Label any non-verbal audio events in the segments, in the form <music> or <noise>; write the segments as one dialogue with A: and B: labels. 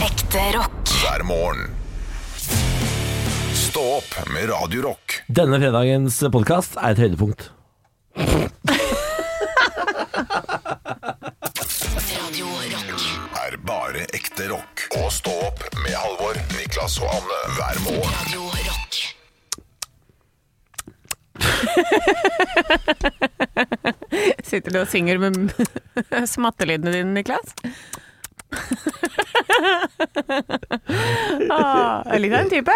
A: Ekte rock.
B: hver morgen. Stå opp med Radio Rock.
C: Denne fredagens podkast er et høydepunkt.
A: Radio Rock.
B: Er bare ekte rock. Og stå opp med Halvor, Niklas og Anne hver morgen.
A: Radio Rock.
D: Sitter du og synger med <laughs> smattelydene dine, Niklas? <laughs> ah, jeg liker den type.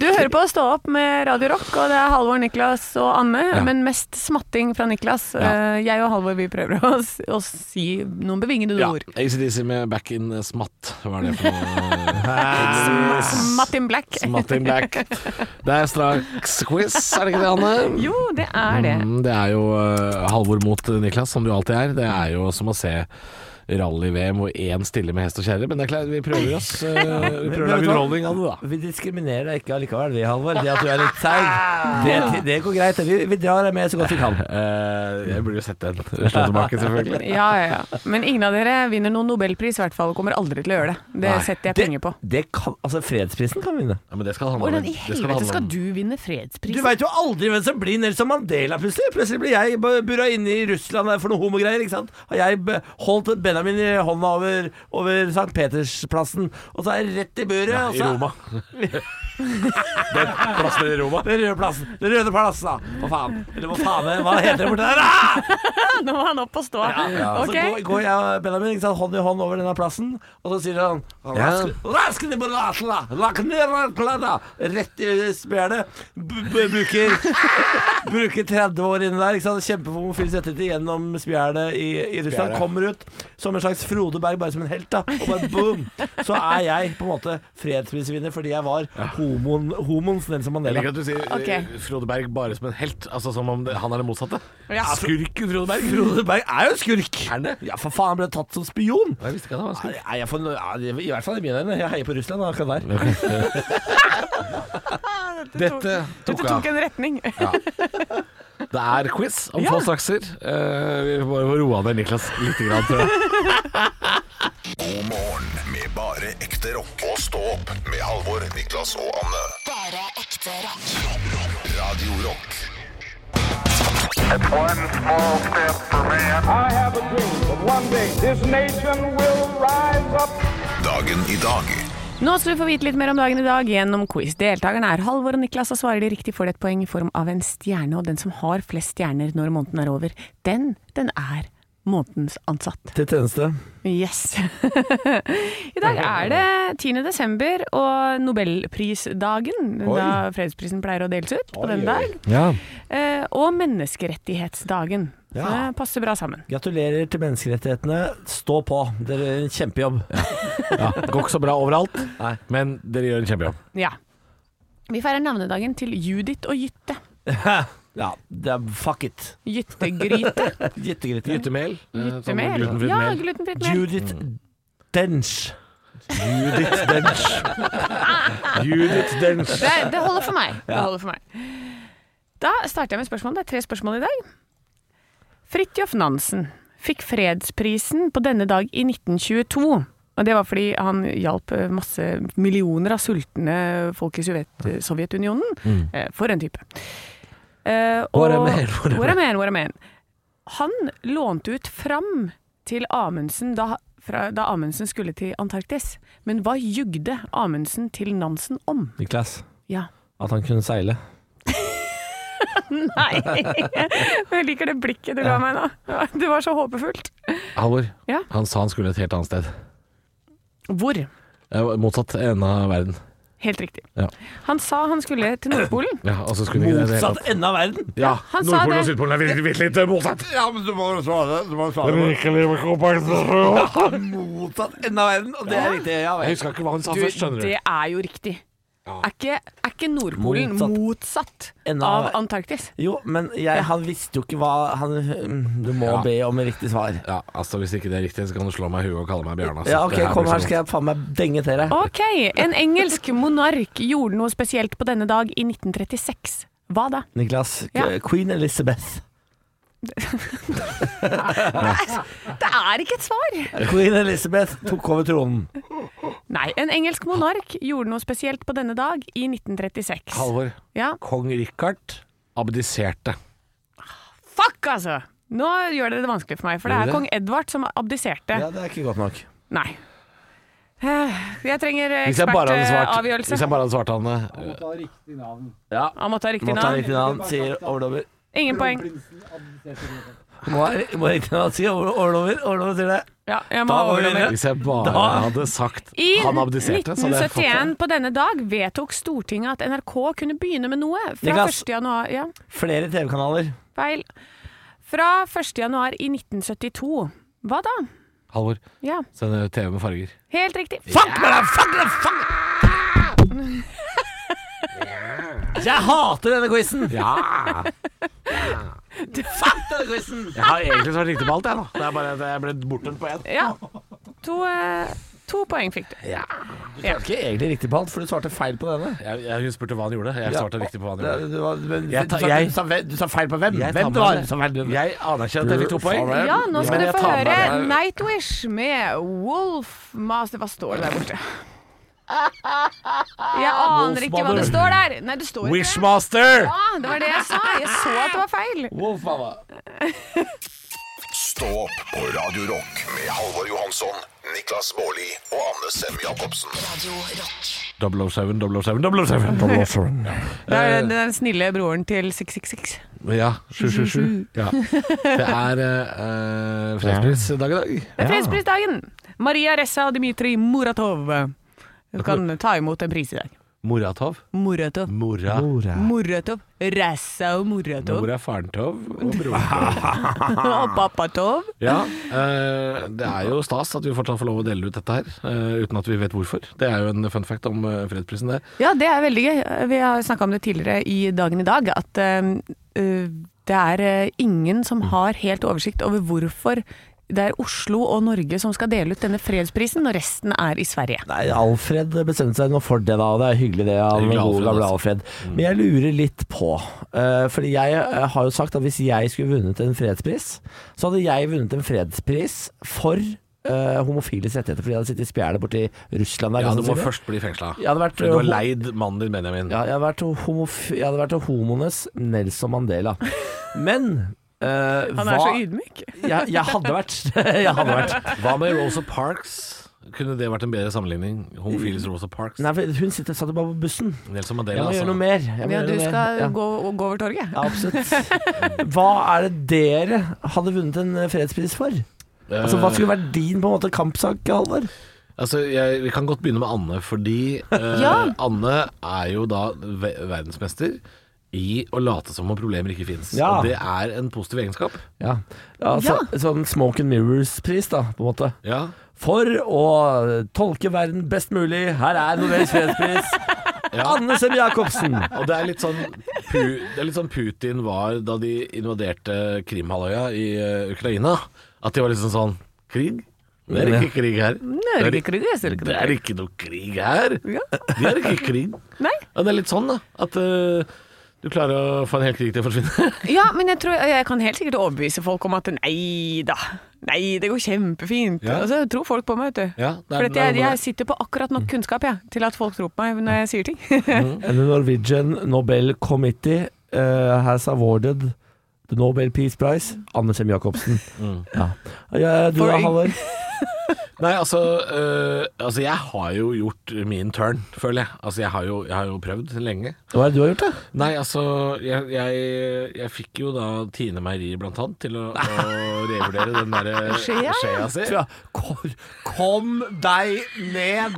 D: Du hører på å Stå opp med Radio Rock, og det er Halvor, Niklas og Anne. Men mest smatting fra Niklas. Eh, Jeg og Halvor vi prøver å, s- å si noen bevingede
E: Ja,
D: ord.
E: ACDC med Back in Smatt. Hva er det for <laughs> noe? Ah.
D: Smatt in black.
E: Smatt in Back. Det er straks quiz, er det ikke det, Anne?
D: <laughs> Jo, det er det.
E: Mm, det er jo eh, Halvor mot Niklas, som du alltid er. Det er jo som å se rally-VM hvor én stiller med hest og kjerre, men det er klart, vi prøver oss. eh, vi prøver å lage underholdning av det, da.
C: Vi diskriminerer deg ikke allikevel, vi, Halvor. Det at du er litt seig, det, det går greit. Vi, vi drar deg med så godt vi kan.
E: Eh, jeg burde jo sett den slå tilbake, selvfølgelig.
D: Ja, ja, ja. Men ingen av dere vinner noen nobelpris, i hvert fall. Og kommer aldri til å gjøre det. Det
E: Nei.
D: setter jeg
C: Det,
D: penger på.
C: det kan, altså, fredsprisen kan vinne.
E: Ja, men det skal handle om
D: Hvordan i
E: det skal handle
D: helvete
E: om-
D: skal du vinne
C: Du
D: fredsprisen?
C: veit jo aldri hvem som blir Nelson Mandela plutselig. Plutselig blir jeg bu- burra inne i Russland der for noe homogreier. ikke sant? Har jeg be- holdt Benjamin i hånda over, over St. Petersplassen, og så er jeg rett i buret. og
E: I
C: så-
E: Roma.
D: Altså.
E: <laughs> Den plassen i Roma.
C: Den røde plassen. Den røde plassen, da. Hva faen? Eller hva faen hva heter det borte der? Ah!
D: <laughs> Nå må han opp og stå. Ok.
C: Så Altså, går, går jeg og Benjamin ikke sant, hånd i hånd over denne plassen, og så sier han «Rask- Rask ned på rasla! Lakk ned rasla!» Rett i spjernet. B- b- Bruker, <laughs> bruker 30 år inni der. Ikke sant? Kjempehomofil svettete gjennom spjernet i, i Russland.
E: Spjerdet.
C: Kommer ut som en slags Frode Berg, bare som en helt. da Og bare boom! Så er jeg på en måte fredsprisvinner fordi jeg var homoen, homoens Nelson
E: Jeg
C: Mandela.
E: liker at du sier
D: Ok.
E: eh, Frode Berg bare som en helt, altså som om det, han er det motsatte.
D: Ja.
E: Skurken Frode Berg.
C: Frode Berg er jo en skurk!
E: Er han det?
C: Ja, for faen, han ble tatt som spion!
E: Jeg visste ikke at han var skurk.
C: Nei, jeg får, ja, I hvert fall i mine øyne. Jeg heier på Russland akkurat der.
E: Dette
D: Dette tok en retning.
E: Det er quiz om få strakser. Eh, vi må må roe ned Niklas litt. Grann, tror jeg.
B: God morgen med bare ekte rock. Og stå opp med Halvor, Niklas og Anne.
A: Bare ekte rock.
B: Radio Rock.
F: One small step for man. I have a dream that one day this nation will rise up.
B: Dagen i dag.
D: Nå skal du få vite litt mer om dagen i dag gjennom quiz. Deltakerne er Halvor og Niklas, og svarer de riktig får de et poeng i form av en stjerne. Og den som har flest stjerner når måneden er over, den, den er månedens ansatt.
C: Til tjeneste.
D: Yes. <laughs> I dag er det 10. desember og nobelprisdagen, da fredsprisen pleier å deles ut på den dag. Eh, Og menneskerettighetsdagen. Så
C: Ja.
D: det passer bra sammen.
C: Gratulerer til menneskerettighetene. Stå på. Dere gjør en kjempejobb.
E: Ja, det går ikke så bra overalt,
C: Nei.
E: men dere gjør en kjempejobb.
D: Ja. Vi feirer navnedagen til Judith og Jytte.
C: Ja, det er fuck it.
D: Jyttegryte.
C: Jyttegryte.
E: Gytemel. eh, <laughs> sånn
D: Mel.
E: Glutenfritt
D: Ja,
E: mel.
D: glutenfritt mel.
C: Judith
E: Mm.
C: Dench.
E: Judith Dench. Judith Dench.
D: Det, det holder for meg. Det holder for meg. Da starter jeg med spørsmål. Det er tre spørsmål i dag. Fridtjof Nansen fikk fredsprisen på denne dag i 1922. Og det var fordi han hjalp eh, masse millioner av sultne folk i Sovjet, Sovjetunionen. Eh, For en type. Eh, og-
C: What a man, what a
D: What a man, what a man. Han lånte ut fram til Amundsen da, fra, da Amundsen skulle til Antarktis. Men hva jugde Amundsen til Nansen om?
C: Niklas.
D: Ja.
C: At han kunne seile.
D: Nei. <laughs> Jeg liker det blikket du ga meg nå. Det var så håpefullt.
E: Halvor,
D: Ja.
E: han sa han skulle et helt annet sted.
D: Hvor?
E: Eh, Motsatt ende av verden.
D: Helt riktig.
E: Ja.
D: Han sa han skulle til Nordpolen.
E: Ja, og så skulle ikke det i det hele tatt.
C: Motsatt ende av verden.
E: Ja,
D: han sa
E: Nordpolen og
D: det.
E: Sydpolen er virkelig, virkelig litt motsatt.
C: Ja, men du må jo svare. Du må Motsatt ende av verden, og det er riktig. Ja
E: Jeg
C: vel.
E: husker ikke hva hun sa først, skjønner du.
D: det er jo riktig. Er ikke, er ikke Nordpolen
C: Motsatt.
D: motsatt,
C: Enda-
D: av Antarktis?
C: Jo, men jeg, han visste jo ikke hva han mm, Du må
E: Ja.
C: be om riktig svar.
E: Ja, altså Hvis ikke det er riktig, så kan du slå meg i huet og kalle meg Bjarne. altså.
C: Ja, OK,
E: Det
C: kom
E: blir
C: her,
E: så-
C: skal jeg faen meg denge til deg.
D: Ok, en engelsk monark gjorde noe spesielt på denne dag i 1936. Hva da?
C: Niklas.
D: Ja.
C: Queen Elizabeth.
D: Det er ikke et svar!
C: Queen Elizabeth tok over tronen.
D: Nei, en engelsk monark gjorde noe spesielt på denne dag i 1936.
E: sånn- Halvor,
D: Ja.
C: Kong Richard.
E: abdiserte.
D: Fuck, altså! Nå gjør dere det vanskelig for meg, for det
E: Gjør
D: er
E: det?
D: kong Edvard som abdiserte.
C: Ja, det er ikke godt nok.
D: Nei. Eh, Jeg trenger
E: Hvis jeg bare hadde svart,
D: ekspertavgjørelse.
E: hvis jeg bare hadde svart han eh,
G: Ta riktig navn.
C: Ja.
D: Han måtte ha
C: Må
D: riktig
C: ta
D: navn.
C: riktig navn, sier overdommer.
D: Ingen poeng.
G: Prinsen abdiserte i Egypt.
C: Må ha må ha riktig navn, sier over- overdommer. Overdommer sier det.
D: Ja, jeg må
C: Da
D: ha
C: var vi
D: overdommer.
C: videre.
E: eh, Hvis jeg bare
C: Da-
E: hadde sagt
D: I
E: han abdiserte, så hadde jeg fått det.
D: 1971 på denne dag vedtok Stortinget at NRK kunne begynne med noe
C: Jeg
D: fra
C: kan-
D: 1. januar Ja,
C: Flere TV-kanaler.
D: feil. Fra 1. januar i 1972. Hva da?
E: Halvor,
D: Ja,
E: send TV med farger.
D: helt riktig.
C: Fuck med deg! Fuck med deg! Fuck! Jeg hater denne quizen!
E: Ja!
C: <laughs> Fuck denne quizen!
E: Jeg har egentlig svart riktig på alt, jeg, da. Det er bare at jeg ble bortdømt på én.
D: Ja. To, eh, to poeng fikk du.
C: Det er ikke egentlig riktig på alt, for du svarte feil på denne.
E: Jeg, jeg, hun spurte hva han gjorde. Jeg svarte riktig på hva han
C: Det-
E: gjorde.
C: det var- men-
E: Jeg tar-
C: du sa-
E: jeg-
C: du sa ve- Du sa feil på hvem?
E: Jeg tar
C: Hvem du
E: med
C: var?
E: det.
C: Du sa feil på hvem?
E: Jeg anerkjenner at jeg fikk to poeng.
C: Faen,
D: Ja, nå skal
E: Eh, Men
D: du
E: jeg
D: få
E: tar med
D: høre
E: det.
D: Nightwish med Wolfmaster. Hva står det der borte? Jeg aner ikke hva det
E: Wolfmother.
D: står der. Nei, det står ikke det.
E: Wishmaster!
D: Ja, det var det jeg sa. Jeg så at det var
E: Eh.
D: feil.
B: Stå opp på Radio Rock med Halvor Johansson, Niklas Baarli og Anne Sem Jacobsen.
A: Radio Rock.
E: 007, 007, 007. 007.
D: Det er den- den snille broren til 666.
E: Ja.
C: <laughs>
E: 777. Ja. Det er uh, fredsprisdag i dag.
D: Det er fredsprisdagen. Maria Ressa Dmitrij Muratov Du kan ta imot en pris i dag.
E: Moratov.
D: Muratov.
E: Mora.
D: Muratov. Ressa og Muratov.
E: Mor er faren Tov og broren Tov.
C: <laughs>
D: <laughs> Og Papatov.
E: Ja, eh, det er jo stas at vi fortsatt får lov å dele ut dette her, eh, uten at vi vet hvorfor. Det er jo en fun fact om eh, fredsprisen, det.
D: Ja, det er veldig gøy. Vi har snakka om det tidligere i dagen i dag, at øhm, øh, det er øh, ingen som har helt oversikt over hvorfor det er Oslo og Norge som skal dele ut denne fredsprisen, og resten er i Sverige.
C: Nei, Alfred bestemte seg nå for det, da. Og det er hyggelig, det. av
E: Det er hyggelig,
C: gode,
E: Alfred,
C: gamle
E: altså.
C: Alfred. Men jeg lurer litt på eh, Fordi jeg eh, har jo sagt at hvis jeg skulle vunnet en fredspris, så hadde jeg vunnet en fredspris for eh, homofiles rettigheter. Fordi jeg hadde sittet i spjælet borti Russland der.
E: Ja, du
C: kanskje
E: må
C: sikkert.
E: først bli fengsla.
C: Jeg hadde vært-
E: For du har leid mannen din, Benjamin.
C: Ja, jeg hadde vært, homof jeg hadde vært homoenes Nelson Mandela. Men eh,
D: Han er
C: hva
D: så ydmyk.
C: jeg, jeg hadde vært <laughs> Jeg hadde vært
E: Hva med Rosa Parks? Kunne det vært en bedre sammenligning? Homofiles Rosa Parks.
C: Mm. Nei, for hun sitter, satt jo bare på bussen.
E: Nelson
C: Jeg
E: Mandela,
C: må
E: altså.
C: gjøre noe mer. Jeg må
D: Ja,
C: gjøre
D: du
C: noe mer.
D: skal
C: Ja.
D: gå, gå over torget.
C: Ja, absolutt. Hva er det dere hadde vunnet en fredspris for? Altså, Hva skulle vært din på en måte kampsak, Halvor?
E: Altså, jeg, Vi kan godt begynne med Anne,
D: <laughs>
E: fordi eh,
D: Ja.
E: Anne er jo da ve verdensmester i å late som om problemer ikke fins.
C: Ja.
E: Og det er en positiv egenskap.
C: Ja. altså, Sånn Smoke and Mirrors-pris, da, på en måte.
E: Ja.
C: For å tolke verden best mulig, her er Nobels fredspris. <laughs> Anne Sem Jacobsen.
E: Og det er litt sånn, Pu det er litt sånn Putin var da de invaderte Krimhalvøya i eh, Ukraina. At de var liksom sånn Krig? Det er ikke krig her.
D: Det er ikke krig, jeg ser ikke
E: Det
D: noe
E: er ikke noe krig her.
D: Ja.
E: Det er ikke krig.
D: <laughs> Nei.
E: Ja, det er litt sånn, da. At eh, du klarer å få en hel krig til å forsvinne.
D: Ja, men jeg, tror, jeg kan helt sikkert overbevise folk om at nei da, nei, det går kjempefint.
E: Ja.
D: Og så tror folk på meg, vet du.
E: Ja, det er-
D: For
E: det
D: at
E: er noe
D: jeg,
E: med det.
D: jeg sitter på akkurat nok kunnskap jeg, til at folk tror på meg når jeg sier ting.
C: And the Norwegian Nobel Committee eh, has awarded the Nobel Peace Prize. Anne Sem Jacobsen. Ja. Ja, du da,
D: For-
C: Halvor?
E: Nei, altså, eh, altså Jeg har jo gjort min turn, føler jeg. Altså, jeg har jo, jeg har jo prøvd lenge.
C: Hva er det du har gjort, da?
E: Nei, altså, jeg, jeg, jeg fikk jo da Tine Meieri blant annet til å, å
D: <laughs>
E: revurdere den der øh,
D: Skjea?
E: skjea si.
C: Ja, kom, kom deg ned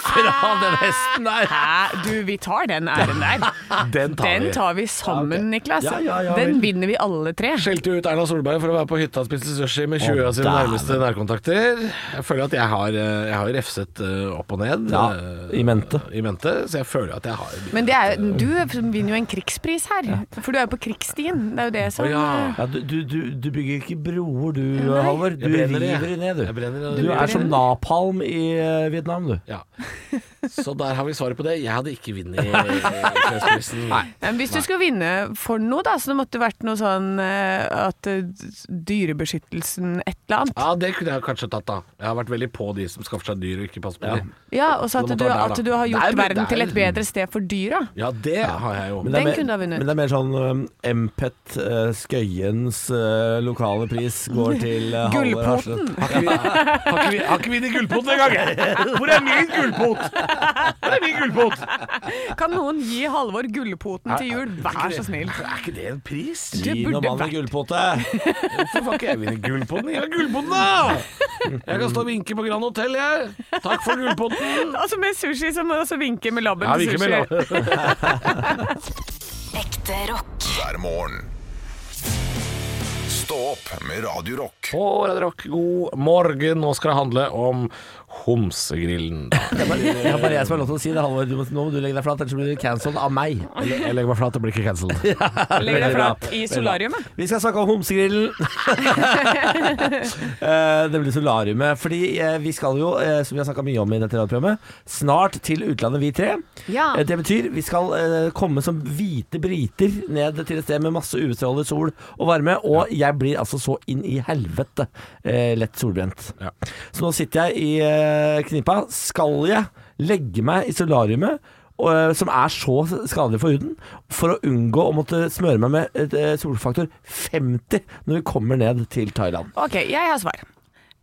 C: fra <laughs> den hesten der!
D: Hæ? Du, vi tar den æren der.
E: Den tar
D: Den
E: vi.
D: tar vi sammen, Niklas.
C: Ja, ja, ja,
D: den
C: vel.
D: vinner vi alle tre.
E: Skjelte ut Erna Solberg for å være på hytta og spise sushi med 20 av sine
C: dæven.
E: nærmeste nærkontakter. Jeg føler at jeg har, eh, jeg har refset eh, opp og ned
C: Ja,
E: eh,
C: i mente.
E: i mente, så jeg føler at jeg har
D: Men det er, jo- du vinner jo en krigspris her, for du er jo på krigsstien. Det er jo det som
E: Å ja.
C: Ja, du, du, du, du bygger ikke broer du,
D: Nei.
C: Halvor. Du
E: Jeg brenner i.
C: river i ned, du.
E: Jeg brenner i.
C: Du er som napalm i eh, Vietnam, du.
E: ja. Så der har vi svaret på det. Jeg hadde ikke vunnet eh, <laughs> fredsprisen.
D: Men hvis du skulle vinne for noe, da, så det måtte vært noe sånn eh, at eh, dyrebeskyttelsen et eller annet.
E: Ja, det kunne jeg kanskje tatt, da. Jeg har vært veldig på de som skaffer seg dyr og ikke passer på dem.
D: Ja, og så
E: det
D: at
E: måtte
D: du,
E: være der,
D: at
E: da.
D: du har
E: Nei,
D: gjort
E: men
D: verden
E: det er-
D: til et bedre sted for dyra.
E: Ja, det har jeg jo.
C: Men det er
D: Den
C: mer-
D: kunne du ha vunnet.
C: Men det er mer sånn um, Empet eh, Skøyens eh, lokale pris går til uh,
D: Gullpoten. <laughs>
E: Har ikke vi- har ikke vi- har ikke vunnet gullpot engang! Hvor er min gullpot? Hvor er min gullpot?
D: Kan noen gi Halvor gullpoten til jul, vær så snill?
E: Er ikke det en pris?
D: Det
C: Gi noen
D: burde
C: mann en
D: vært-
C: gullpote!
E: Hvorfor får ikke jeg vinne gullpotten? Jeg har gullpotten, da! Jeg kan stå og vinke på Grand Hotell, jeg. Takk for gullpotten.
D: Altså med sushi så må du også vinke med labben til sushi.
A: Ekte rock.
B: hver morgen. Stå opp med Radio Rock.
E: På Radio Rock, god morgen. Nå skal det handle om Homsegrillen.
C: Det er bare, det er bare jeg som har lov til å si det, Halvor. Du må, nå må du legge deg flat, ellers blir du cancelled av meg.
E: Jeg jeg legger meg flat, det blir ikke cancelled.
D: <laughs> Legg deg
C: Veldig bra.
D: flat i solariumet.
C: Vi skal snakke om
D: <laughs>
C: homsegrillen. Eh, det blir solariumet. Fordi eh, vi skal jo, eh, som vi har snakka mye om i dette radioprogrammet, snart til utlandet, vi tre.
D: Ja.
C: Eh, Det betyr vi skal eh, komme som hvite briter ned til et sted med masse UV-stråler, sol og varme. Og jeg blir altså så inn i helvete eh, lett solbrent.
E: Ja.
C: Så nå sitter jeg i eh, knipa. Skal jeg legge meg i solariumet? og, eh, Som er så skadelig for huden, for å unngå å måtte smøre meg med et, eh, solfaktor 50 når vi kommer ned til Thailand.
D: Ok, jeg har svar.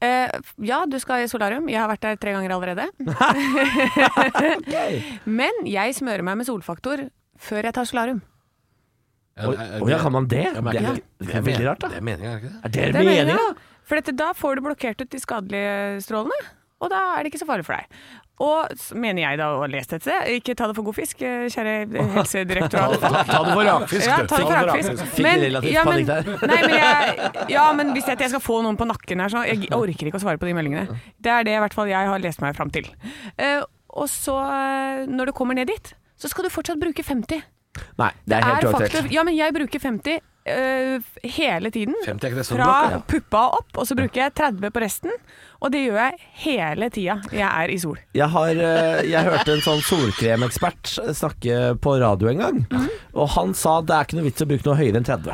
D: Eh, ja, du skal i solarium. Jeg har vært der tre ganger allerede. Men jeg smører meg med solfaktor før jeg tar solarium.
C: Oi, oi, ja, kan man det?
E: Ja, men
C: Det er,
E: ikke-
C: det er veldig rart,
E: Det
C: da.
E: er meningen, er det ikke det?
C: Er det,
D: Det er meningen,
C: meninga?
D: For dette, da får du blokkert ut de skadelige strålene, og da er det ikke så farlig for deg. Og s- mener jeg da å ha lest dette, ikke ta det for god fisk, eh, kjære helsedirektorat.
E: Ta, ta det for rakfisk,
D: Ja,
E: du.
D: ta det for rakfisk.
C: Fikk relativt panikk der.
D: <laughs> nei, men jeg, ja, men hvis jeg, jeg skal få noen på nakken her, så jeg orker ikke å svare på de meldingene. Det er det i hvert fall jeg har lest meg fram til. Eh, og så, eh, når du kommer ned dit, så skal du fortsatt bruke 50.
C: Nei, det er helt
D: Er
C: uaktuelt.
D: faktor, ja, men jeg bruker 50 eh, hele tiden.
E: 50 er ikke det som blokk,
D: Fra puppa og opp, og så bruker jeg 30 på resten. Og det gjør jeg hele tida jeg er i sol.
C: Jeg, har, eh, jeg hørte en sånn solkremekspert snakke på radio en gang. Og han sa det er ikke noe vits å bruke noe høyere enn 30.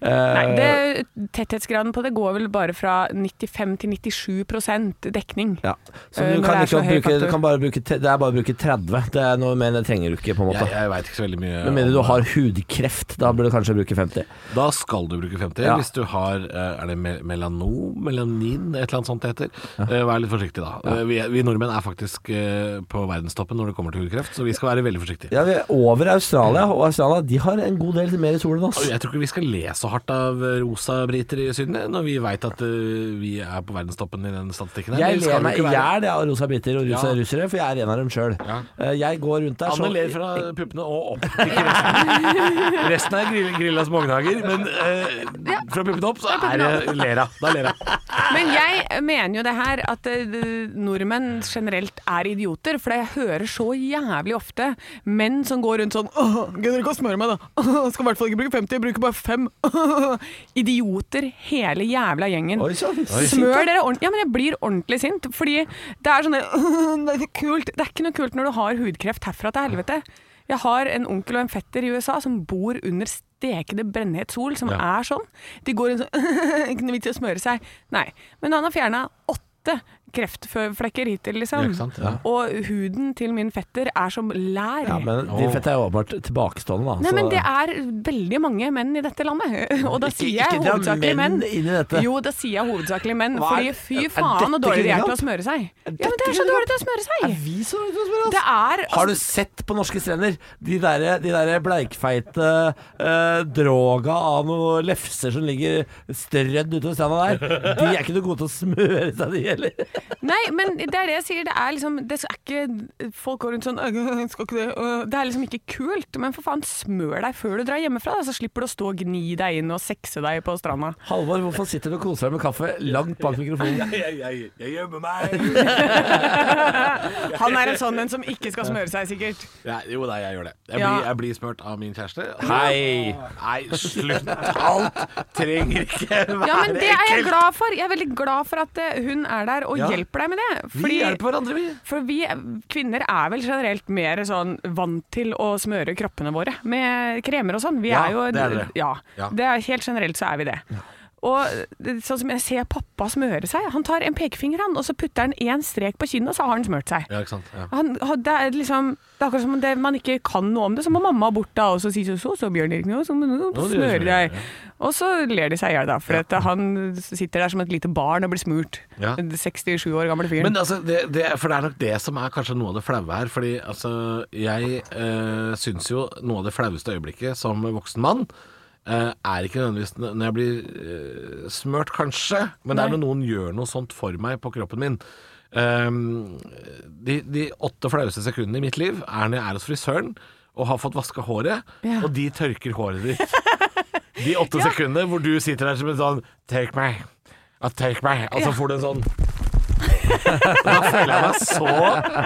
D: Nei, det, tetthetsgraden på det går vel bare fra 95 til 97 dekning.
C: Ja. Så
D: Eh,
C: du
D: når
C: kan,
D: det er
C: ikke
D: så høy
C: bruke, du
D: faktor.
C: kan bare bruke, te- det er bare å bruke 30. Det er noe mer enn det trenger du ikke, på en måte.
E: Jeg, jeg veit ikke så veldig mye.
C: Med
E: om-
C: mindre du har hudkreft, da burde du kanskje bruke 50.
E: Da skal du bruke 50.
C: Ja.
E: Hvis du har eh, Er det me- melanom? Melanin? Et eller annet sånt det heter. Eh, Vær litt forsiktig, da. Eh, Vi, vi nordmenn er faktisk eh, på verdenstoppen når det kommer til hudkreft, så vi skal være veldig forsiktige.
C: Ja, vi er over Australia, og Australia de har en god del mer sol enn oss.
E: Jeg tror ikke vi skal le så hardt av eh, rosa briter i Syden, eh, når vi veit at eh, vi er på verdenstoppen i den statistikken her.
C: Jeg
E: Det skal
C: ler
E: vi
C: meg i
E: ikke være.
C: hjel av rosa briter og rusa
E: Ja.
C: russere, for jeg er en av dem sjøl.
E: Ja.
C: Jeg går rundt der
E: Anne ler fra puppene og opp. Ikke resten. resten er grill, grilla smågnager, men eh, fra puppene opp så er det lera. Da
C: <laughs>
E: ler hun.
D: Men jeg mener jo det her at eh, nordmenn generelt er idioter, for jeg hører så jævlig ofte menn som går rundt sånn Åh, gidder ikke å smøre meg, da. Åh, skal i hvert fall ikke bruke 50, jeg bruker bare 5. <laughs> Idioter hele jævla gjengen.
C: Oi sann!
D: Smør dere ordentlig. Ja, men jeg blir ordentlig sint. Fordi det er sånn der, <laughs> Det er ikke kult. Det er ikke noe kult når du har hudkreft herfra til helvete. Jeg har en onkel og en fetter i USA som bor under stekende brennhet sol, som er sånn. De går inn sånn <laughs> Ikke noe vits i å smøre seg. Nei. Men han har fjerna åtte kreftflekker hittil, liksom.
E: Ja, ikke sant? Ja.
D: Og huden til min fetter er som lær.
C: Ja, men de fette er jo åpenbart tilbakestående, da.
D: Nei,
C: så-
D: men det er veldig mange menn i dette landet. <laughs> Og da
C: Ikke-
D: sier jeg
C: ikke dra
D: hovedsakelig menn.
C: menn inn i dette.
D: Jo, da sier jeg hovedsakelig menn.
C: Hva er-
D: Fordi fy
C: er
D: faen så
C: dette
D: dårlig de er
C: kvinnekamp?
D: til å smøre seg. Ja,
C: dette
D: men det er så
C: kvinnekamp?
D: dårlig til å smøre
C: Er
D: seg.
C: vi så dårlige til å smøre oss?
D: Det er altså-
C: Har du sett på norske strender de der, de der bleikfeite eh, droga av noen lefser som ligger strødd utover stranda der? De er ikke noe gode til å smøre seg, de heller.
D: Nei, men det er det jeg sier. Det er liksom det er ikke, Folk går rundt sånn «Øh, skal ikke det. øh». det er liksom ikke kult. Men for faen, smør deg før du drar hjemmefra, da, så slipper du å stå og gni deg inn og sekse deg på stranda.
C: Halvor, hvorfor sitter du og koser deg med kaffe langt bak mikrofonen?
E: Jeg, jeg, jeg gjemmer meg.
D: Han er en sånn en som ikke skal smøre seg,
C: <laughs>
D: sikkert.
E: Ja, jo da, jeg gjør det. Jeg
D: Ja.
E: blir, jeg blir smurt av min kjæreste. Hei! Nei, slutt! Alt trenger ikke være
D: Ja, men det er jeg glad for. Jeg er veldig glad for at eh, hun er der og
C: Ja.
D: hjelper deg med det.
C: Vi hjelper hverandre, vi.
D: For vi kvinner er vel generelt mer sånn vant til å smøre kroppene våre med kremer og sånn. Vi
C: Ja,
D: er jo
C: det er dere.
D: Ja,
E: Ja.
D: det er helt generelt så er vi det. Og det- sånn som jeg ser pappa smøre seg, han tar en pekefinger han, og så putter han én strek på kinnet, og så har han smørt seg.
E: Ja, ikke sant? Ja.
D: Han, han- det er liksom Det er akkurat som om det, man ikke kan noe om det. Så må mamma bort da og så si så så, så Bjørn Erik nå, så må du
E: det gjør
D: smøre
E: smør,
D: deg. Og så ler de seg i hjel, da. For at han sitter der som et lite barn og blir smurt.
E: Ja.
D: Den 67 år gamle fyren.
E: Men altså, det, det, for det er nok det som er kanskje noe av det flaue her. Fordi altså, jeg øh, syns jo noe av det flaueste øyeblikket som voksen mann eh, er ikke nødvendigvis n- når jeg blir eh, smørt, kanskje, men det er når noen gjør noe sånt for meg på kroppen min. Ehm, de, de åtte flaueste sekundene i mitt liv er når jeg er hos frisøren og har fått vaska håret,
D: Ja.
E: og de tørker håret ditt. De åtte sekundene hvor du sitter der som en sånn Tørk meg. Ja, tørk meg. Og så
D: Ja.
E: får du en sånn <laughs> Da føler jeg meg så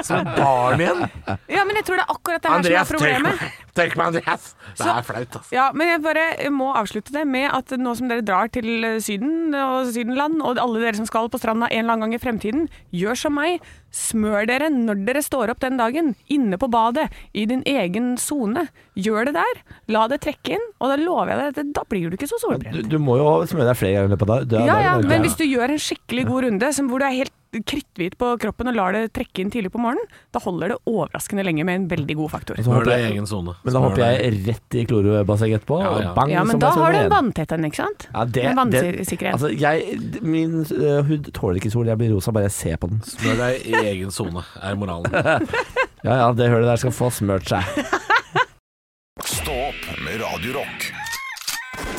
E: som et barn igjen.
D: Ja, men jeg tror det er akkurat det her
E: Andreas,
D: som er
E: tørk
D: problemet.
E: meg. Tørk meg, Andreas. Det
D: Så-
E: er flaut, altså.
D: Ja, men jeg bare må avslutte det med at nå som dere drar til eh, Syden og Sydenland, og alle dere som skal på stranda en eller annen gang i fremtiden, gjør som meg. Smør dere når dere står opp den dagen, inne på badet, i din egen sone. Gjør det der. La det trekke inn, og da lover jeg deg at da blir du ikke så
C: Du,
D: solbrent.
C: du må jo smøre deg flere ganger i løpet av dag-
D: Ja, ja,
C: dagen.
D: men hvis du gjør en skikkelig god runde som hvor du er helt kritthvit på kroppen og lar det trekke inn tidlig på morgenen, da holder det overraskende lenge med en veldig god faktor.
C: Så
E: Smør
C: håper
E: deg i
C: jeg-
E: egen sone.
C: Men da
E: Smør
C: hopper
E: deg.
C: jeg rett i klorobassenget etterpå.
E: Ja, ja.
C: og Bang,
D: Ja, men
C: så
D: da
C: må jeg
D: har
C: svømme
D: du en
C: igjen.
D: vanntett en, ikke sant?
C: Ja, det,
D: En
C: det,
D: vannsikkerhet.
C: altså, jeg, min øh, hud tåler ikke sol, jeg blir rosa bare jeg ser på den.
E: Smør deg i egen sone, er moralen.
C: Ja ja, det hølet der skal få smørt seg.
B: Stå opp med Radio Rock.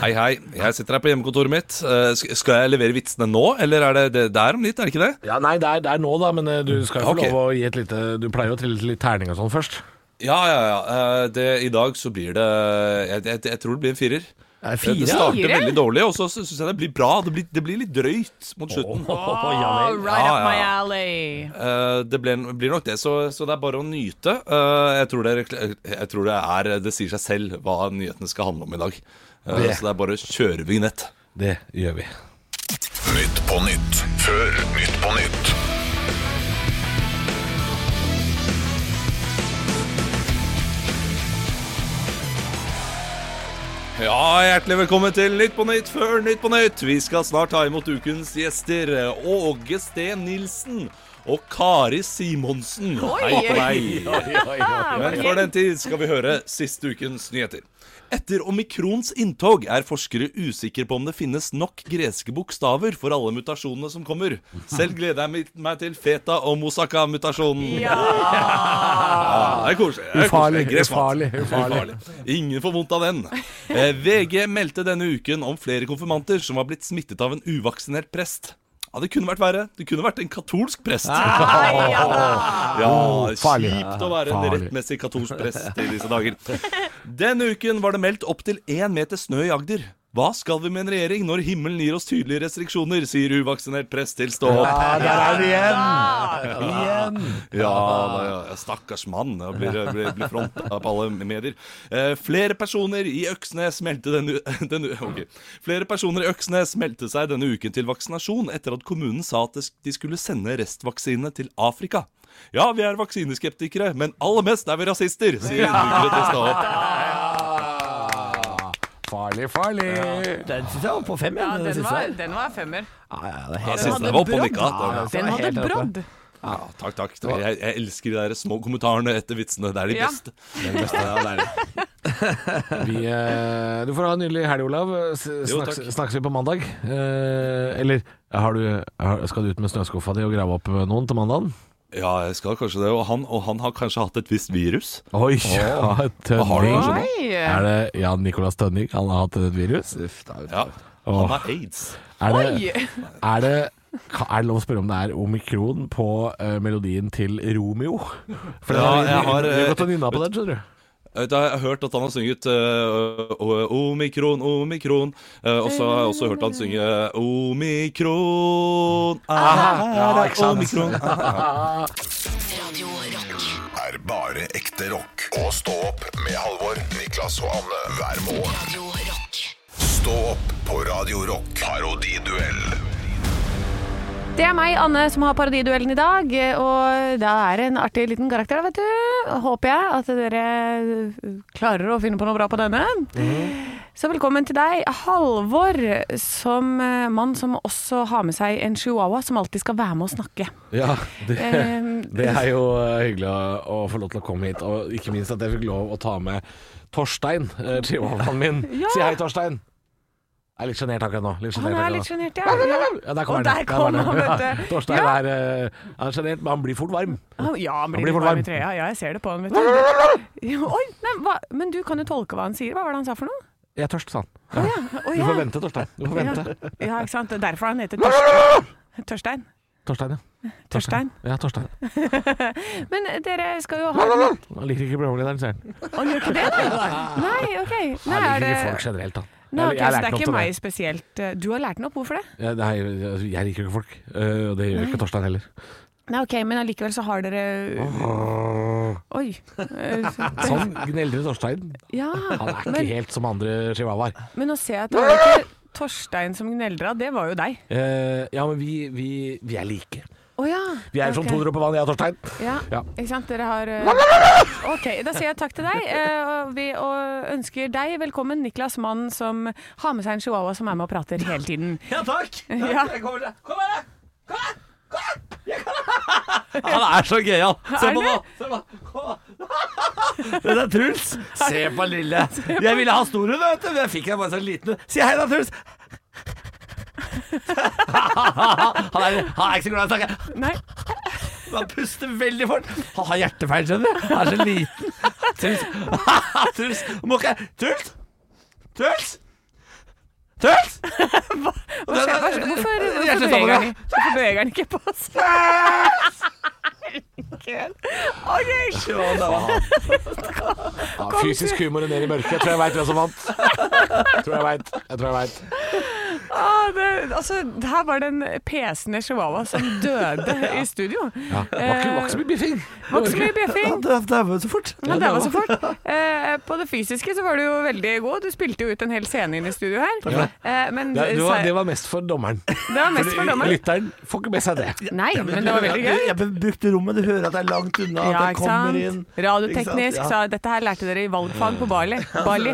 H: Hei, hei. Jeg sitter her på hjemmekontoret mitt. Eh, sk- Skal jeg levere vitsene nå, eller er det det der om litt? Er det ikke det?
E: <laughs> Ja, nei, det er, det er nå, da, men eh, du skal jo få
H: Ok.
E: lov å gi et lite Du pleier jo å trille litt terning og sånn først.
H: Ja, ja, ja. Eh, Det, I dag så blir det Jeg, jeg, jeg tror det blir en firer. Eh,
E: Det er
H: Det- Det starter
D: Fire?
H: veldig dårlig, og så syns jeg det blir bra. Det blir, det blir litt drøyt mot slutten.
D: Oh, right
H: Ja,
D: up
H: ja,
D: my
H: ja.
D: alley.
H: Eh, Det ble, blir nok det, så, så det er bare å nyte. Eh, Jeg tror det, er- jeg tror det er Det sier seg selv hva nyhetene skal handle om i dag. Eh,
E: Det.
H: Så det er bare å kjøre vignett.
E: Det gjør vi.
B: Nytt på nytt før Nytt på nytt.
H: Ja, hjertelig velkommen til Nytt på Nytt før Nytt på Nytt. Vi skal snart ta imot ukens gjester Åge Steen Nilsen og Kari Simonsen. Hei på deg. Men før den tid skal vi høre siste ukens nyheter. Etter omikrons inntog er forskere usikre på om det finnes nok greske bokstaver for alle mutasjonene som kommer. Selv gleder jeg meg- meg til feta og moussaka-mutasjonen. Ja, det er koselig. Det er
E: Ufarlig,
H: koselig. Gresk mat.
E: ufarlig, ufarlig.
H: Ufarlig. Ingen får vondt av den. Eh, VG meldte denne uken om flere konfirmanter som var blitt smittet av en uvaksinert prest. Ja, Det kunne vært verre. Det kunne vært en katolsk prest.
E: Ah,
H: <laughs> Ja,
E: Oh, farlig.
H: Kjipt å være en
E: Farlig.
H: rettmessig katolsk prest i disse dager. Denne uken var det meldt opptil én meter snø i Agder. Hva skal vi med en regjering når himmelen gir oss tydelige restriksjoner, sier uvaksinert prest til Stå opp.
E: Ja, der er vi igjen! igjen.
H: Ja, da, ja, ja, stakkars mann. Da blir, blir, blir fronta på alle medier. Eh, flere personer i Øksnes meldte denne, u- <laughs> denne u- ok. Flere personer i Øksnes meldte seg denne uken til vaksinasjon etter at kommunen sa at det sk- de skulle sende restvaksinene til Afrika. Ja, vi er vaksineskeptikere, men aller mest er vi rasister, sier innbyggere til Stå opp.
E: Farlig, farlig.
C: Den syns jeg var på fem.
D: Ja,
C: Ja,
D: den var, den var femmer.
C: ja, ja, det er
H: Ja,
C: helt
H: siste var oppe og nikka. Da-
D: Den hadde
C: helt oppe.
D: brodd.
H: Ja, takk, takk. Jeg, jeg elsker de der små kommentarene etter vitsene. Det er de
D: Ja.
H: beste. Det er de beste. Ja, det er det.
E: Vi, eh, du får ha en nydelig helg, Olav. S
H: Jo,
E: snakkes,
H: takk.
E: snakkes vi på mandag? Eh, eller har du, har, skal du ut med snøskuffa di og grave opp noen til mandagen?
H: ja, jeg skal kanskje det. Og han, og han har kanskje hatt et visst virus.
E: Oi! <laughs> ja,
H: Har du
E: Tønning.
H: kanskje
D: Oi!
E: Er det Jan Nicolas Tønning? Han har hatt et virus?
H: Ja,
E: Åh.
H: han har aids.
E: Er det,
D: Oi!
E: er det ka- er det lov å spørre om det er omikron på eh, melodien til Romeo? For
H: Ja, jeg har,
E: Du har
H: eh,
E: gått og nynna på den, skjønner du.
H: Jeg, vet, jeg har hørt at han har sunget eh, o- omikron, omikron. eh, og så har jeg også hørt han synge omikron. Ah,
E: Ja, ikke sant.
H: omikron.
A: Radio Rock.
B: er bare ekte rock. Og stå opp med Halvor, Niklas og Anne hver morgen.
A: Radio Rock.
B: Stå opp på Radio Rock. Parodiduell
D: Det er meg, Anne, som har parodiduellen i dag. Og da er det en artig liten karakter, da, vet du. Håper jeg at dere klarer å finne på noe bra på denne. Så velkommen til deg, Halvor, som eh, mann som også har med seg en chihuahua som alltid skal være med og snakke.
E: Ja, det,
D: Ehm.
E: det er jo eh, hyggelig å, å få lov til å komme hit, og ikke minst at jeg fikk lov å ta med Torstein, eh, chihuahuaen min.
D: <laughs> Ja.
E: Si hei, Torstein. Jeg er litt sjenert akkurat nå. Litt
D: Han
E: sjenert
D: er
E: akkurat
D: litt
E: nå.
D: sjenert, ja.
E: Ja, der
D: Og
E: kom han,
D: der kom
E: var
D: han,
E: Ja,
D: vet du.
E: Torstein
D: Ja.
E: er, eh, han er sjenert, men han blir fort varm.
D: Han- Ja, han
E: Han
D: blir
E: blir
D: litt
E: for
D: varm i
E: varm.
D: trøya. Ja, jeg ser det på han, vet du. Jo, Oi, nei, hva? Men du kan jo tolke hva han sier. Hva var det han sa for noe?
E: Jeg er tørst, sa han.
D: Å ja. Å,
E: Du
D: ja.
E: får vente, Torstein. Du får vente.
D: Ja, ja, ikke sant. Det er Derfor han heter Torstein. Torstein.
E: Torstein, ja.
D: Torstein.
E: Ja, Torstein.
D: Men eh, dere skal jo ha
E: Han liker ikke programlederen, sier han.
D: Han gjør ikke det,
E: <laughs>
D: nei? Nei, ok. Nei,
E: Han
D: er
E: liker
D: det...
E: ikke folk generelt, han.
D: Nei, ok,
E: Jeg-
D: så
E: jeg lærte
D: det er
E: opp
D: ikke
E: til
D: meg spesielt. Eh, Du har lært den opp, hvorfor det?
E: Ja, Nei, jeg jeg liker jo ikke folk, eh, og det gjør ikke Torstein heller.
D: Nei, ok, men allikevel så har dere Oi. Eh,
E: <laughs> Sånn gneldre Torstein.
D: Ja,
E: Han er ikke
D: men,
E: helt som andre chihuahuaer.
D: men nå ser jeg at det var ikke Torstein som gneldra, det var jo deg.
E: Eh, ja, men vi, vi, vi er like.
D: Å ja.
E: Vi er som
D: ok.
E: to dråper vann, jeg og
D: <laughs>
E: Torstein.
D: Ja,
E: Ja.
D: ikke sant. Dere har eh,
E: <laughs>
D: Ok, da sier jeg takk til deg. eh, og vi og ønsker deg velkommen, Niklas Mann, som har med seg en chihuahua som er med og prater hele tiden.
C: <laughs> Ja, takk!
D: Ja.
C: Jeg kommer til- Kom her, da! Kom her! Kom her! Jeg kan- Han er så gøyal! Se
D: Er
C: på nå!
D: det?
C: Se på nå. Det er Truls. Se på
D: <laughs>
C: lille. Jeg ville ha stor en, vet du, men jeg fikk en bare sånn liten en. Si hei da, Truls. <laughs> Han er, han er ikke så glad i å snakke.
D: Nei.
C: Han puster veldig fort. Han har hjertefeil, skjønner du. Han er så liten. Truls. <laughs> Truls. Må ikke Truls! Truls! Truls!
D: Hva skjer? Hva skjer? Hvorfor,
C: Jeg
D: hvorfor,
C: slutter
D: beveger
C: med
D: han, hvorfor beveger han ikke på seg?
E: <laughs>
D: Herregud. Ok,
E: Ja, fysisk humor og ned i mørket. Jeg tror jeg veit hvem som
D: <laughs>
E: vant. Jeg tror jeg vet. Jeg tror jeg vet.
D: ah, det, altså, her var det en pesende chihuahua som døde i studio.
E: Ja. Det var ikke- det var ikke så mye biffing.
D: Det Eh, var ikke så
E: <laughs>
D: mye bjeffing.
C: Dæven, så fort.
D: Ja, det var så fort. Eh, på det fysiske så var du jo veldig god. Du spilte jo ut en hel scene inn i studio her. Eh, men
E: Ja, det, var,
D: se-
E: det var mest for dommeren.
D: det var <laughs> mest for dommeren.
E: Lytteren får ikke med seg det.
D: Nei, men det var veldig gøy.
C: Jeg brukte rommet, du hører at det er langt unna, at
D: Ja,
C: det
D: ikke
C: kommer
D: sant?
C: inn.
D: Radioteknisk
C: Ikke sant?
D: sa dette her lærte dere i valgfag på
C: <laughs>
D: Bali. Bali.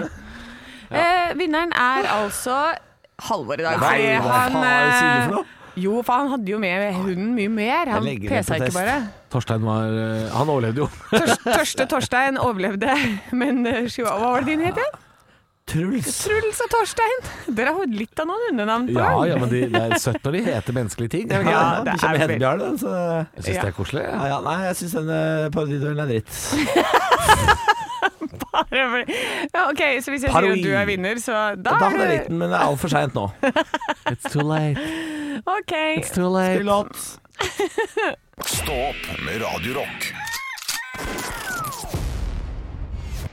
D: Eh, vinneren er altså Halvor i dag. fordi
C: Nei, hva faen er det du sier for noe?
D: eh, jo, for han hadde jo med hunden mye mer. Han
C: legger det
D: pesa
C: på
D: ikke
C: test. <laughs>
D: bare.
E: Torstein var eh, Han overlevde jo.
D: Tørst, tørste Torstein overlevde, men eh, Chihuahua Hva var det din het igjen?
C: Truls.
D: Truls og Torstein. Dere har jo litt av noen hundenavn på
E: Ja,
D: gang.
E: ja, men de, det er søtt når de heter menneskelige ting. Jeg
C: Ja,
D: det
C: Bikkja
D: er
C: med
D: vel-
C: Hedbjørn, den. Så
E: syns det er koselig.
C: ja,
E: Ja.
C: ja, nei, jeg syns denne parodiduellen er dritt.
D: ja, ok, Så hvis jeg sier
C: Parodi.
D: at du er vinner, så da
C: Da
D: er
C: hadde jeg likt
D: du
C: den, men det er altfor seint nå.
E: It's too late.
D: OK.
E: It's too late.
C: Pilot.
B: Stå opp med Radio Rock.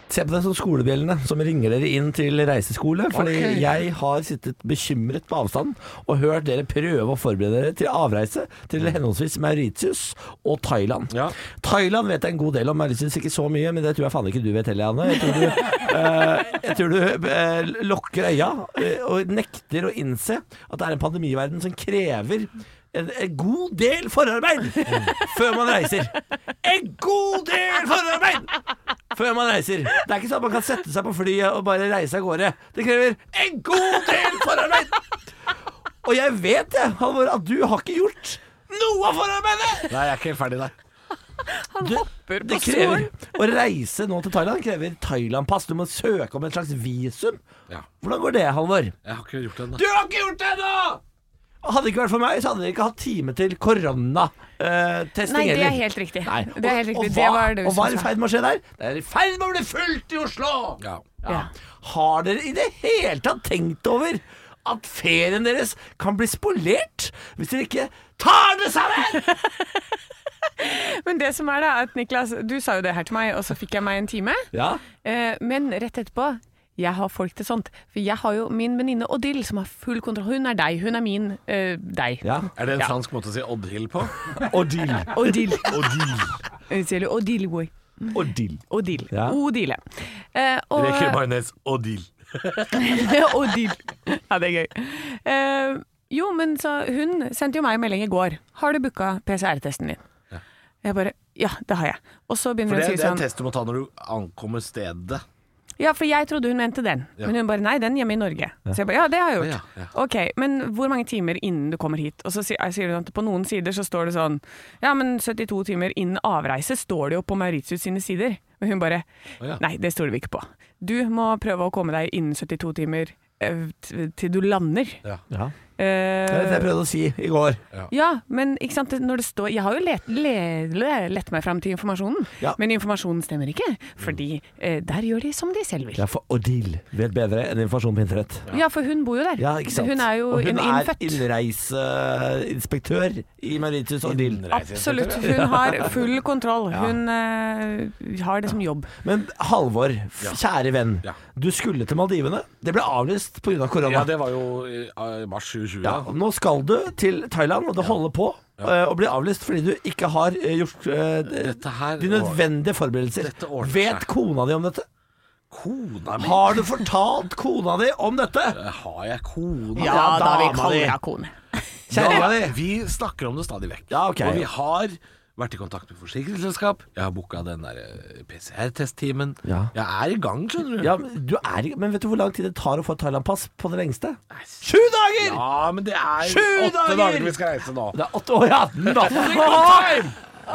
C: Se på det som skolebjellene som ringer dere inn til reiseskole. Fordi jeg har sittet bekymret på avstand og hørt dere prøve å forberede dere til avreise til henholdsvis Mauritius og Thailand.
E: Ja.
C: Thailand vet jeg en god del om, Mauritius ikke så mye, men det tror jeg faen ikke du vet heller, Anne. Jeg tror du, eh, jeg tror du eh, lukker øya eh, og nekter å innse at det er en pandemiverden som krever en, en god del forarbeid før man reiser. En god del forarbeid! før man reiser. Det er ikke sånn at man kan sette seg på flyet og bare reise av gårde. Det krever en god del forarbeid! Og jeg vet det, Halvor, at du har ikke gjort noe av forarbeidet!
E: Nei, jeg er ikke helt ferdig der.
D: Han hopper på
C: Det
D: stolen.
C: krever Å reise nå til Thailand krever Thailand-pass. Du må søke om et slags visum.
E: Ja.
C: Hvordan går det, Halvor?
E: Jeg har ikke gjort det ennå.
C: Du har ikke gjort det ennå! Hadde det ikke vært for meg, så hadde dere ikke hatt time til eh, koronatesting
D: Nei, det er helt riktig.
C: Nei.
D: Det er helt
C: Og,
D: riktig.
C: og,
D: Det
C: hva,
D: var det du
C: og hva er i
D: sa.
C: ferd med å skje der? Det er i ferd med å bli fullt i Oslo!
E: Ja.
D: Ja.
C: Har dere i det hele tatt tenkt over at ferien deres kan bli spolert hvis dere ikke tar det sammen?
D: Men men det som er da, at Niklas, du sa jo det her til meg, og så fikk jeg meg en time.
C: <laughs> Ja?
D: Eh, men rett etterpå jeg har folk til sånt. For jeg har jo min venninne Odile, som har full kontroll. Hun er deg, hun er min eh, deg.
C: ja.
E: Er det en fransk måte å si Oddhild på?
C: Odile.
D: Odile.
C: Odile.
D: Hun sier jo Odile, boy.
C: Odile.
D: Odile.
C: Ja.
D: Odile. Eh, og-
E: Reker majones Oddhild.
D: <laughs> og dill. Ja, det er gøy. Eh, jo, men så hun sendte jo meg en melding i går. Har du booka PCR-testen din? Jeg bare Ja, det har jeg. Og så begynner
E: For
D: hun å
E: det,
D: si
E: det er
D: sånn
E: en test du må ta når du ankommer stedet.
D: Ja, for jeg trodde hun mente den. Men hun bare nei, den hjemme i Norge. Så jeg bare ja, det har jeg gjort.
E: Ja, ja.
D: Ok, men hvor mange timer innen du kommer hit? Og så sier, sier hun at på noen sider så står det sånn ja, men 72 timer innen avreise står det jo på Mauritius sine sider. Men hun bare
E: ja.
D: nei, det stoler vi ikke på. Du må prøve å komme deg innen 72 timer eh, t- til du lander.
C: Ja.
D: Eh,
C: Det er det jeg prøvde å si i går.
D: ja, men ikke sant, når det står Jeg har jo let, le, le, lett meg fram til informasjonen,
C: Ja.
D: men informasjonen stemmer ikke. Fordi eh, der gjør de som de selv vil.
C: Ja, for Odile vet bedre enn informasjon på internett.
D: Ja, for hun bor jo der.
C: Ja, ikke sant?
D: Hun er jo
C: og hun
D: en
C: er
D: innfødt.
C: innreiseinspektør i Mauritius Odile.
D: Absolutt. Hun har full kontroll. Hun eh, har det som jobb.
C: Men Halvor, f- kjære venn.
E: Ja.
C: Du skulle til Maldivene. Det ble avlyst pga. Av korona.
E: Ja, det var jo i ah, i mars 2020.
C: Ja,
E: Ja.
C: nå skal du til Thailand, og det holder på eh, å bli avlyst fordi du ikke har eh, gjort eh,
E: Dette her
C: de nødvendige forberedelser.
E: Dette ordner
C: Vet
E: seg.
C: kona di om dette?
E: Kona mi?
C: Har du fortalt kona di om dette?
E: Har jeg kone?
C: Ja, da, vi kaller
D: kaller
C: henne
D: henne kone.
C: Kjerringa di?
E: Vi snakker om det stadig vekk.
C: Ja, ok.
E: Og vi har vært i kontakt med forsikringsselskap. Jeg har booka den der eh, PCR-testtimen.
C: Ja.
E: Jeg er i gang, skjønner du.
C: Ja, men du er, ikke- men vet du hvor lang tid det tar å få et Thailand-pass på det lengste? Sju dager!
E: Ja, men det er
C: Sju
E: åtte
C: dager!
E: dager vi skal reise nå.
C: Det er åtte år, ja. Nothing but time!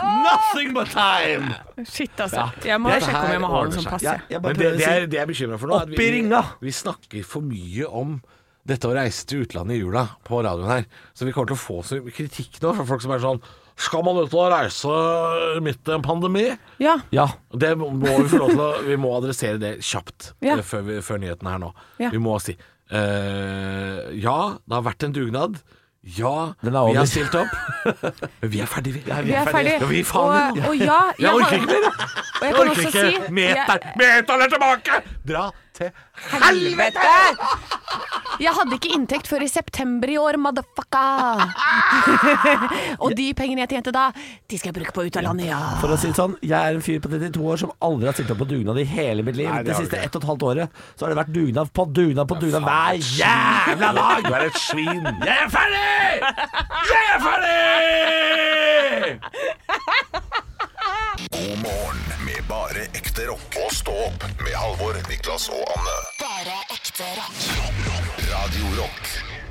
C: Nothing but time!
D: Shit, altså. Jeg må
E: Dette
D: sjekke om
E: her
D: jeg må ha den
E: ordner
D: som
E: seg.
D: pass.
C: Ja,
D: jeg.
C: jeg bare
E: Men det,
C: prøver å
E: det, er,
C: si-
E: det jeg er bekymra for nå, er at
C: Opp i ringa!
E: vi, vi snakker for mye om dette å reise til utlandet i jula på radioen her. Så vi kommer til å få så mye kritikk nå fra folk som er sånn Skal man ut og reise midt i en pandemi?
D: Ja.
C: Ja.
E: Det må vi få lov til å Vi må adressere det kjapt
D: Ja.
E: eh, før, vi, før nyheten her nå.
D: Ja.
E: Vi må si eh, Ja, det har vært en dugnad. Ja,
C: Den er
E: vi
C: over.
E: har stilt opp. <laughs> Men vi er ferdige, vi.
D: Vi er ferdig.
E: Ja, vi faen,
D: Og, og ja, jeg,
E: orker
D: har-
E: ikke mer,
D: Og jeg
E: Jeg
D: kan
E: orker
D: også
E: ikke.
D: si
E: Meter, meter er tilbake! Dra til
D: Helvete! <laughs> Jeg hadde ikke inntekt før i september i år, motherfucka! og de pengene jeg tjente da, de skal jeg bruke på ut av landet, ja.
C: For å si det sånn, jeg er en fyr på 32 år som aldri har stilt opp på dugnad i hele mitt liv.
E: Nei, det
C: det
E: har du
C: siste
E: ikke.
C: ett og et halvt året så har det vært dugnad på dugnad på dugnad hver jævla
E: jævla dag! <laughs> Du er et svin.
C: Jeg er ferdig! Jeg er ferdig!
B: God morgen med bare ekte rock. Og stå opp med Halvor, Niklas og Anne.
A: Bare ekte rock.
B: Rock, rock. Radio Rock.